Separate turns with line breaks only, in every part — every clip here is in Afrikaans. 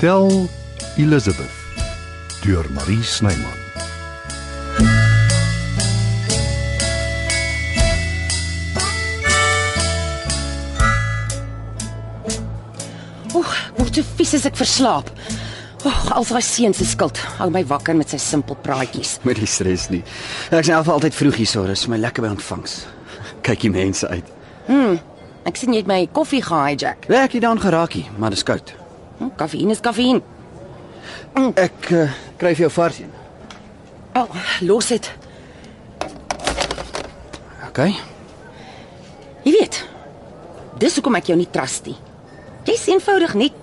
Tel Elizabeth deur Marie Snyman.
Oeg, word so vies as ek verslaap. Oeg, al sy seun se skuld. Hou my wakker met sy simpel praatjies.
Met die stres nie. Ek is in elk geval altyd vroeg hier, so dis my lekker by ontvangs. Kyk die mense uit.
Ek sien jy het my koffie gehijack.
Werk jy dan geraakie, maar dis koud.
Hm, kafeïn is kafeïn.
Ek uh, kry vir jou vars een.
Al, oh, los dit.
OK.
Jy weet. Dis hoekom ek jou nie trust nie. Jy's eenvoudig net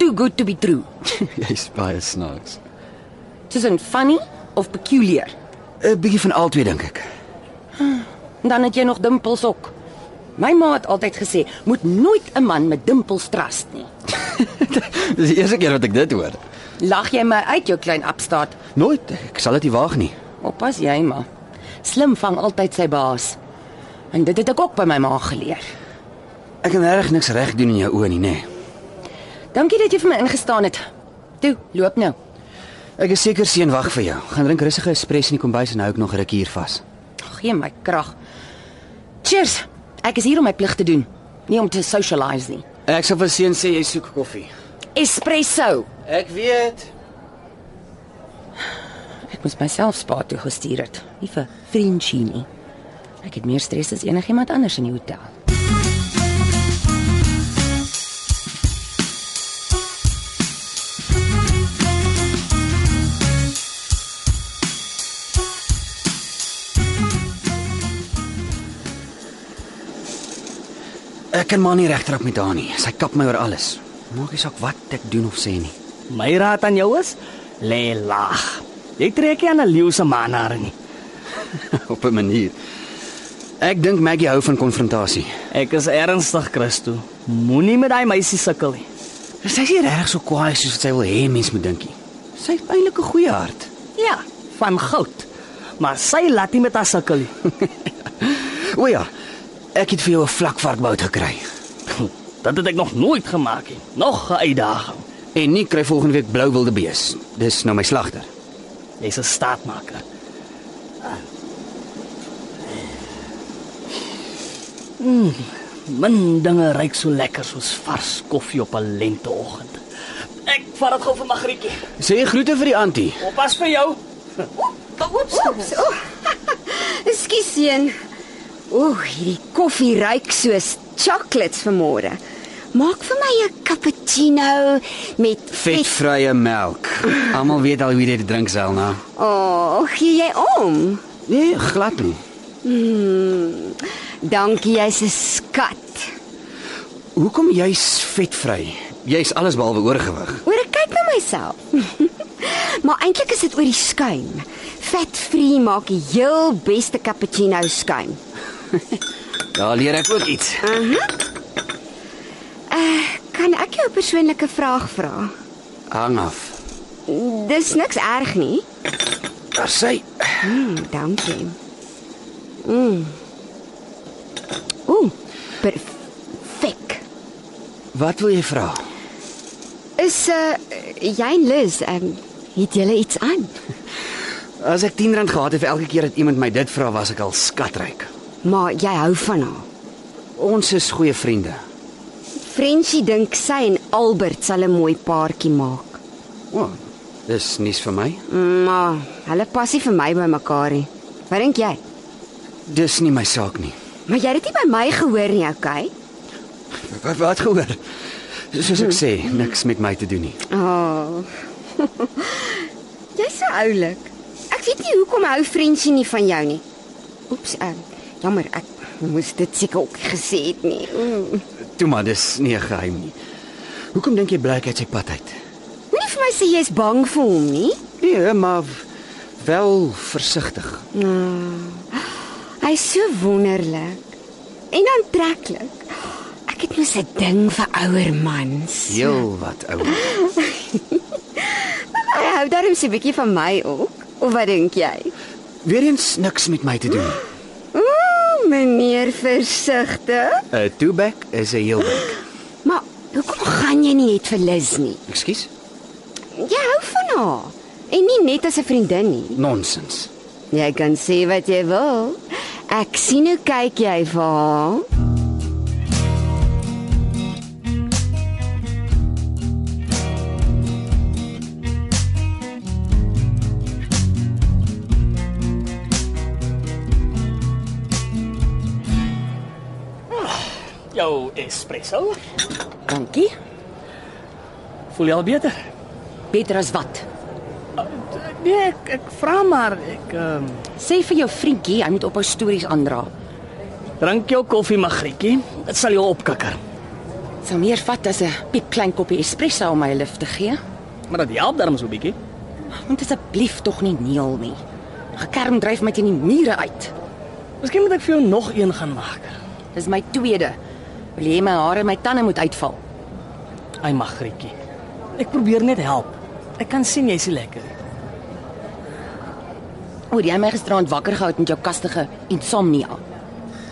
too good to be true.
Jy's baie snaaks.
Soos 'n funny of peculiar.
'n Eh, Bietjie van albei dink ek.
En dan het jy nog dimpels ook. My ma het altyd gesê, moet nooit 'n man met dimpels trust nie.
Dis die eerste keer wat ek dit hoor.
Lag jy my uit jou klein apstaat.
Nooit, ek sal dit nie waag nie.
Oppas jy maar. Slim vang altyd sy baas. En dit het ek ook by my ma geleer.
Ek kan reg niks reg doen in jou oë nie, nê. Nee.
Dankie dat jy vir my ingestaan het. Toe, loop nou.
Ek is seker seën wag vir jou. Gaan drink rustige espresso in die kombuis en hou ek nog ruk hier vas.
Gee my krag. Cheers. Ek is hier om my plig te doen, nie om te socialize nie.
Ek sal vir seën sê jy soek koffie.
Espresso.
Ek weet.
Ek moes myself spa toe gestuur het, nie vir Frenchie nie. Ek het meer stres as enigiemand anders in die hotel.
Ek kan maar nie regtrap met haar nie. Sy kap my oor alles. Maak nie saak wat ek doen of sê nie.
My raad aan jou is: lê laag. Jy trek nie aan 'n leeu se manare nie.
Op 'n manier. Ek dink Maggie hou van konfrontasie.
Ek is ernstig, Christo. Moenie met daai meisie sukkel nie.
Sy is nie reg so kwaai soos wat sy wil hê mens moet dink nie. Sy het eintlik 'n goeie hart.
Ja, van goud. Maar sy laat nie met haar sukkel nie.
O ja, ek het vir jou 'n vlakvarkbout gekry.
Dit het ek nog nooit gemaak nie. Nog 'n uitdaging.
En nie kry volgende week blou wilde bees. Dis nou my slagter.
Jy's 'n staatmaker. Mm, min dinge ruik so lekker soos vars koffie op 'n lenteoggend. Ek vat dit gou vir Magrietjie.
Sê groete vir die antie.
Oppas vir jou.
Oeps, oeps. Oh. Ekskuus seun. Ooh, hierdie koffie ruik soos chocolates vanmôre. Maak vir my 'n cappuccino met vet.
Vetvrye melk. Almal weet al hoe jy dit drink, Selna.
O, oh, gee jy om?
Nee, glad nie.
Dankie, jy's 'n skat.
Hoekom jy's vetvry? Jy's alles behalwe oorgewig.
Hoor ek kyk na myself. maar eintlik is dit oor die skuim. Vet-free maak die heel beste cappuccino skuim.
Daar leer ek ook iets.
Kan ek jou 'n persoonlike vraag vra?
Hang af.
Dis niks erg nie.
Daar sê,
Mm, dankie. Mm. Ooh, perfek.
wat wil jy vra?
Is uh jy en Liz, um, het julle iets aan?
As ek R10 gehad het vir elke keer dat iemand my dit vra, was ek al skatryk.
Maar jy hou van haar.
Ons is goeie vriende.
Frenchie dink sy en Albert sal 'n mooi paartjie maak.
O, oh, dis nuus vir my.
Maar hulle pas nie vir my by mekaar nie. Wat dink jy?
Dis nie my saak nie.
Maar jy het dit nie by my gehoor nie, okay?
Wat wat gehoor? Soos ek sê, niks met my te doen nie.
Oh. Jy's so oulik. Ek weet nie hoekom hou Frenchie nie van jou nie. Oeps, um, jammer, ek moes dit seker ook gesê het nie. Mm.
Toe maar, dis nie 'n geheim nie. Hoekom dink jy bly ek uit sy pad uit?
Moenie vir my sê jy's bang vir hom nie.
Nee, maar wel versigtig.
Hy's so wonderlik en aantreklik. Ek het mos 'n ding vir ouer mans.
Heel wat ouer.
Hy hou darm so 'n bietjie van my ook. Of wat dink jy?
Weereens niks met my te doen.
Ooh, meneer versigtig.
'n Toeback Eh, is 'n heelback.
Maar hoekom gaan jy nie net vir Liz nie?
Ekskuus?
Jy Ja, hou van haar en nie net as 'n vriendin nie.
Nonsens.
Jy kan sê wat jy wil. Ek sien hoe kyk jy vir haar.
Jou espresso.
Dankie.
Voel jy al beter?
Beter as wat?
Nee, ek, ek vra maar ek ehm
Sê vir jou vriendjie, hy moet op hou stories aandra.
drink jou koffie magrietjie. Dit sal jou opkikker.
Sou meer vat as 'n piep klein koppie espresso om my lif te gee.
Maar dit help darm so 'n bietjie.
Want asseblief tog nie neel nie. Gekerm dryf my teen die mure uit.
Miskien moet ek vir jou nog een gaan maak.
Dis my tweede. Wil jy my hare en my tande moet uitval?
Ai magrietjie. Ek probeer net help. Ek kan sien jy's nie lekker. nie.
Oor jy my gisteraand wakker gehou het met jou kastige insomnia.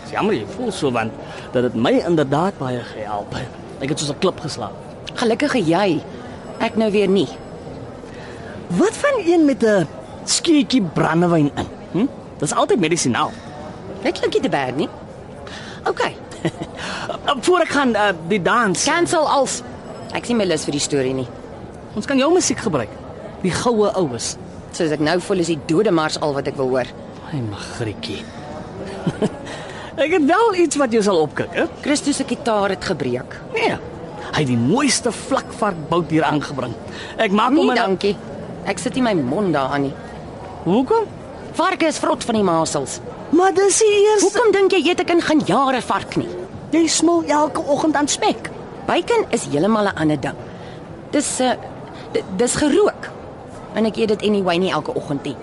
Dis jammer jy voel so want dat dit my inderdaad baie gehelp het. Ek het soos 'n klip geslaap.
Gelukkige jy. Ek nou weer nie.
Wat van een met 'n skieetjie brandewyn in? Hm? Dis altyd medisinaal.
Dit klink nie te bad nie. OK.
Uh, Voor ek gaan uh, die dans.
Cancel als. Ek sien my lus vir die storie nie.
Ons kan jou musiek gebruik. Die goue oues.
Soos ek nou voel is die dode mars al wat ek wil hoor.
Ai magrietjie. ek het wel iets wat jou sal opkik, hè?
Christus se gitaar het gebreek.
Nee. Hy het die mooiste vlakvarkbout hier aangebring. Ek maak hom
Nee,
in-
dankie. Ek sit nie my mond daaraan nie.
Hoekom?
Varke is vrot van die masels.
Maar dis die eerste.
Hoekom dink jy eet ek in geen jare vark nie?
Jy smil elke oggend aan spek.
Bacon is heeltemal 'n ander ding. Dis 'n uh, dis gerook. En ek eet dit anyway nie elke oggend nie.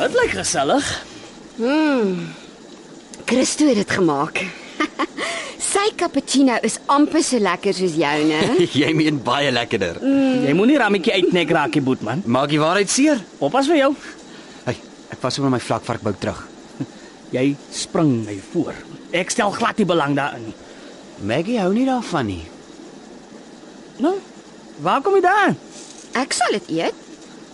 Dit lyk gesellig.
Christo het dit gemaak. Sy cappuccino is amper so lekker soos joune.
Jy meen baie lekkerder.
Jy moenie rammetjie uitnek raak, jy boetman.
Maak die waarheid seer.
Oppas vir jou.
Hey, ek was sommer my vlakvarkbou terug.
Jy spring my voor. Ek stel glad nie belang daarin nie.
Maggie hou nie daarvan nie.
Nou, waar kom jy daar?
Ek sal dit eet.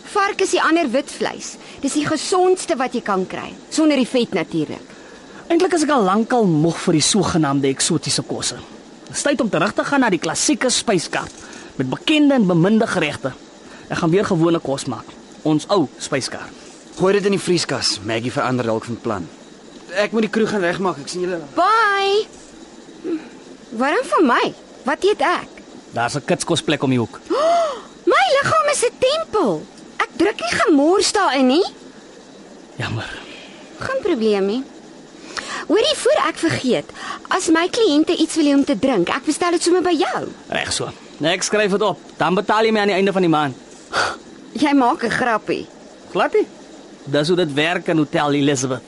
Vark is die ander wit vleis. Dis die gesondste wat jy kan kry, sonder die vet natuurlik.
Eintlik is ek al lankal moeg vir die sogenaamde eksotiese kosse. Dis tyd om terug te gaan na die klassieke spyskaart met bekende en beminde geregte. Ek gaan weer gewone kos maak. Ons ou spyskaart.
Gooi dit in die vrieskas. Maggie verander dalk van plan. Ek moet die kroeg gaan regmaak. Ek sien julle.
Bye. Hm, Waarom vir my? Wat eet ek?
Daar's 'n kitskosplek om die hoek.
My liggaam is 'n tempel. Ek druk nie gemors daarin nie.
Jammer.
Geen probleem nie. Hoorie voor ek vergeet, as my kliënte iets wil hê om te drink, ek bestel dit sommer by jou.
Reg so. Nee, Ek skryf dit op. Dan betaal jy my aan die einde van die maand.
Jy maak 'n grappie.
Glad nie. Dis hoe dit werk in Hotel Elizabeth.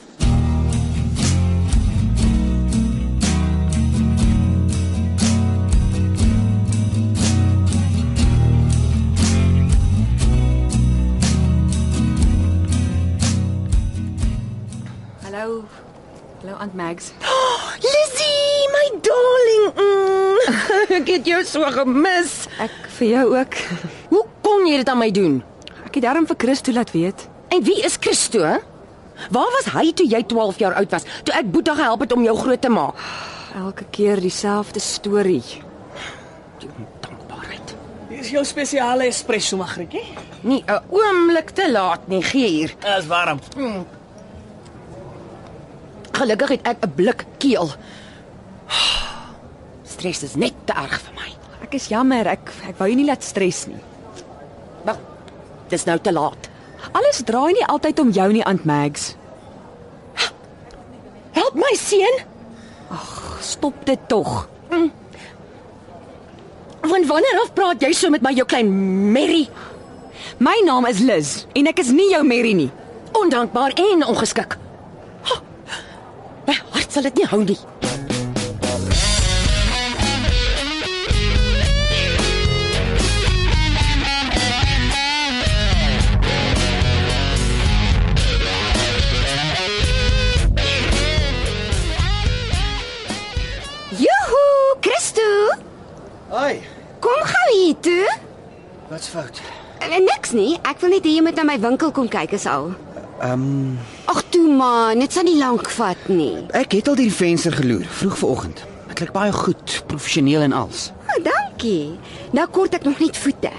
Hallo. Hallo Aunt Mags.
Lizzie, my darling. Mm, ek het jou so gemis.
Ek vir jou ook.
Hoe kon jy dit aan my doen?
Ek het darm vir Christo laat weet.
En wie is Christo? hè? Waar was hy toe jy 12 jaar oud was, toe ek Boeta gehelp het om jou groot te maak?
Elke keer dieselfde storie.
Dankbaarheid.
Dis jou spesiale espresso magrietjie.
Nie 'n oomblik te laat nie, gee hier.
Dit is warm.
Gelukkig het ek 'n blik keel. Stres is net te erg vir my.
Ek is jammer. Ek ek wou jou nie laat stres nie.
Wel, dis nou te laat.
Alles draai nie altyd om jou nie, Aunt Mags.
Help my seun. Mm.
Stop dit tog.
Van wanneer af praat jy so met my jou klein Merry?
My naam is Liz en ek is nie jou Merry nie.
Ondankbaar en ongeskik. Ha, My hart sal dit nie hou nie.
Eh, Ek wil net hê jy moet na my winkel kom kyk is al.
Ehm um,
Ag toe man, dit sal nie lank vat nie.
ek het al deur die venster geloer vroeg vanoggend. Dit klink baie goed, professioneel en alles.
Maar dankie. Nou kort ek nog net voete.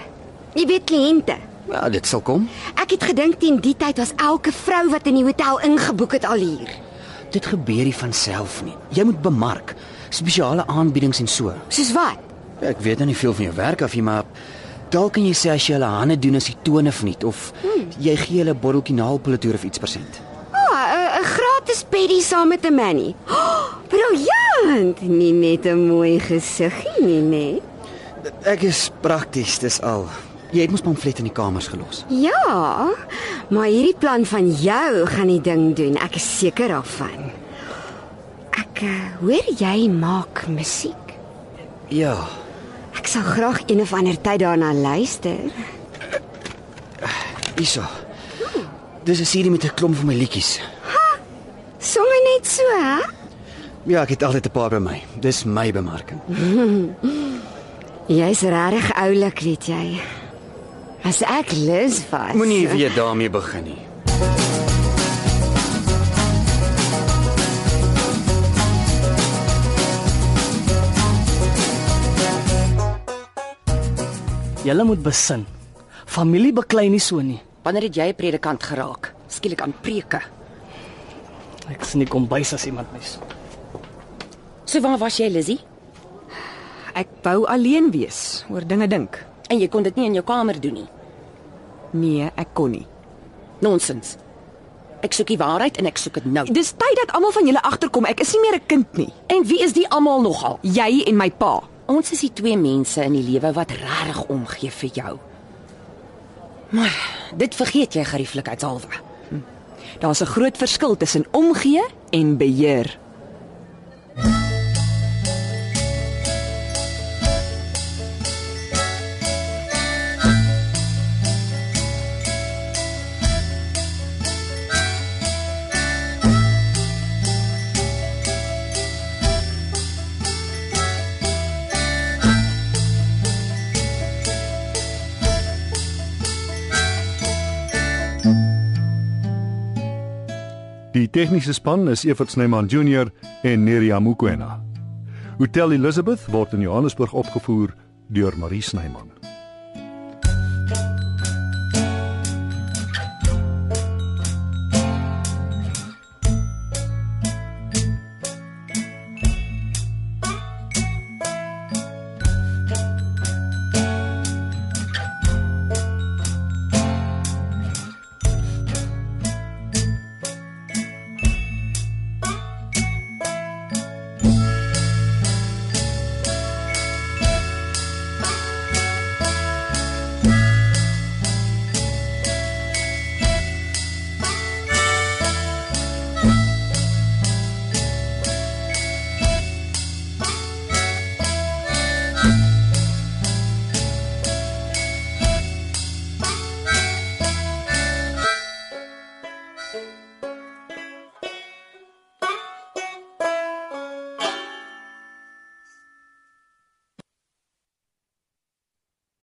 Jy weet kliënte.
Ja, dit sal kom.
Ek het gedink teen die tyd was elke vrou wat in die hotel ingeboek het al hier.
Dit gebeur nie van self nie. Jy moet bemark spesiale aanbiedings en so.
Soos wat?
Ja, Ek weet nou nie veel van jou werk af nie, maar dalk kan jy sê as jy hulle hande doen as die tone verniet of hmm. jy gee hulle 'n botteltjie naalpolitoor of iets persent.
O, oh, 'n gratis pedie saam met 'n manie. Oh, briljant. Nie net 'n mooi gesiggie nie, nê?
Ek is prakties, dis al. Jy het mos pamflette in die kamers gelos.
Ja. Maar hierdie plan van jou gaan die ding doen. Ek is seker daarvan. Ek eh, hoor jy maak musiek.
Ja.
Ek sal graag een of ander tyd daarna luister.
Hierso. Hmm. Dis 'n serie met 'n klomp van my liedjies.
Somme net so, hè?
Ja, ek het altyd 'n paar by my. Dis my bemarking.
Jy's regtig oulik, weet jy. As ek lus was.
Moenie weer daarmee begin nie.
Julle moet besin. Familie beklei nie so nie.
Wanneer het jy 'n predikant geraak? Skielik aan preke.
Ek sien nie kom bys as iemand my soek.
So waar was jy, Lizzy?
Ek wou alleen wees, oor dinge dink.
En jy kon dit nie in jou kamer doen nie.
Nee, ek kon nie.
Nonsens. Ek soek die waarheid en ek soek dit nou.
Dis tyd dat almal van julle agterkom. Ek is nie meer 'n kind nie.
En wie is die almal nogal?
Jy en my pa.
Ons is die twee mense in die lewe wat regtig omgee vir jou. Maar dit vergeet jy gerieflikheidshalwe.
Daar's 'n groot verskil tussen omgee en beheer.
Die tegniese span is Evert Snyman Junior en Neriya Mukwena. Hotel Elizabeth word in Johannesburg opgevoer deur Marie Snyman.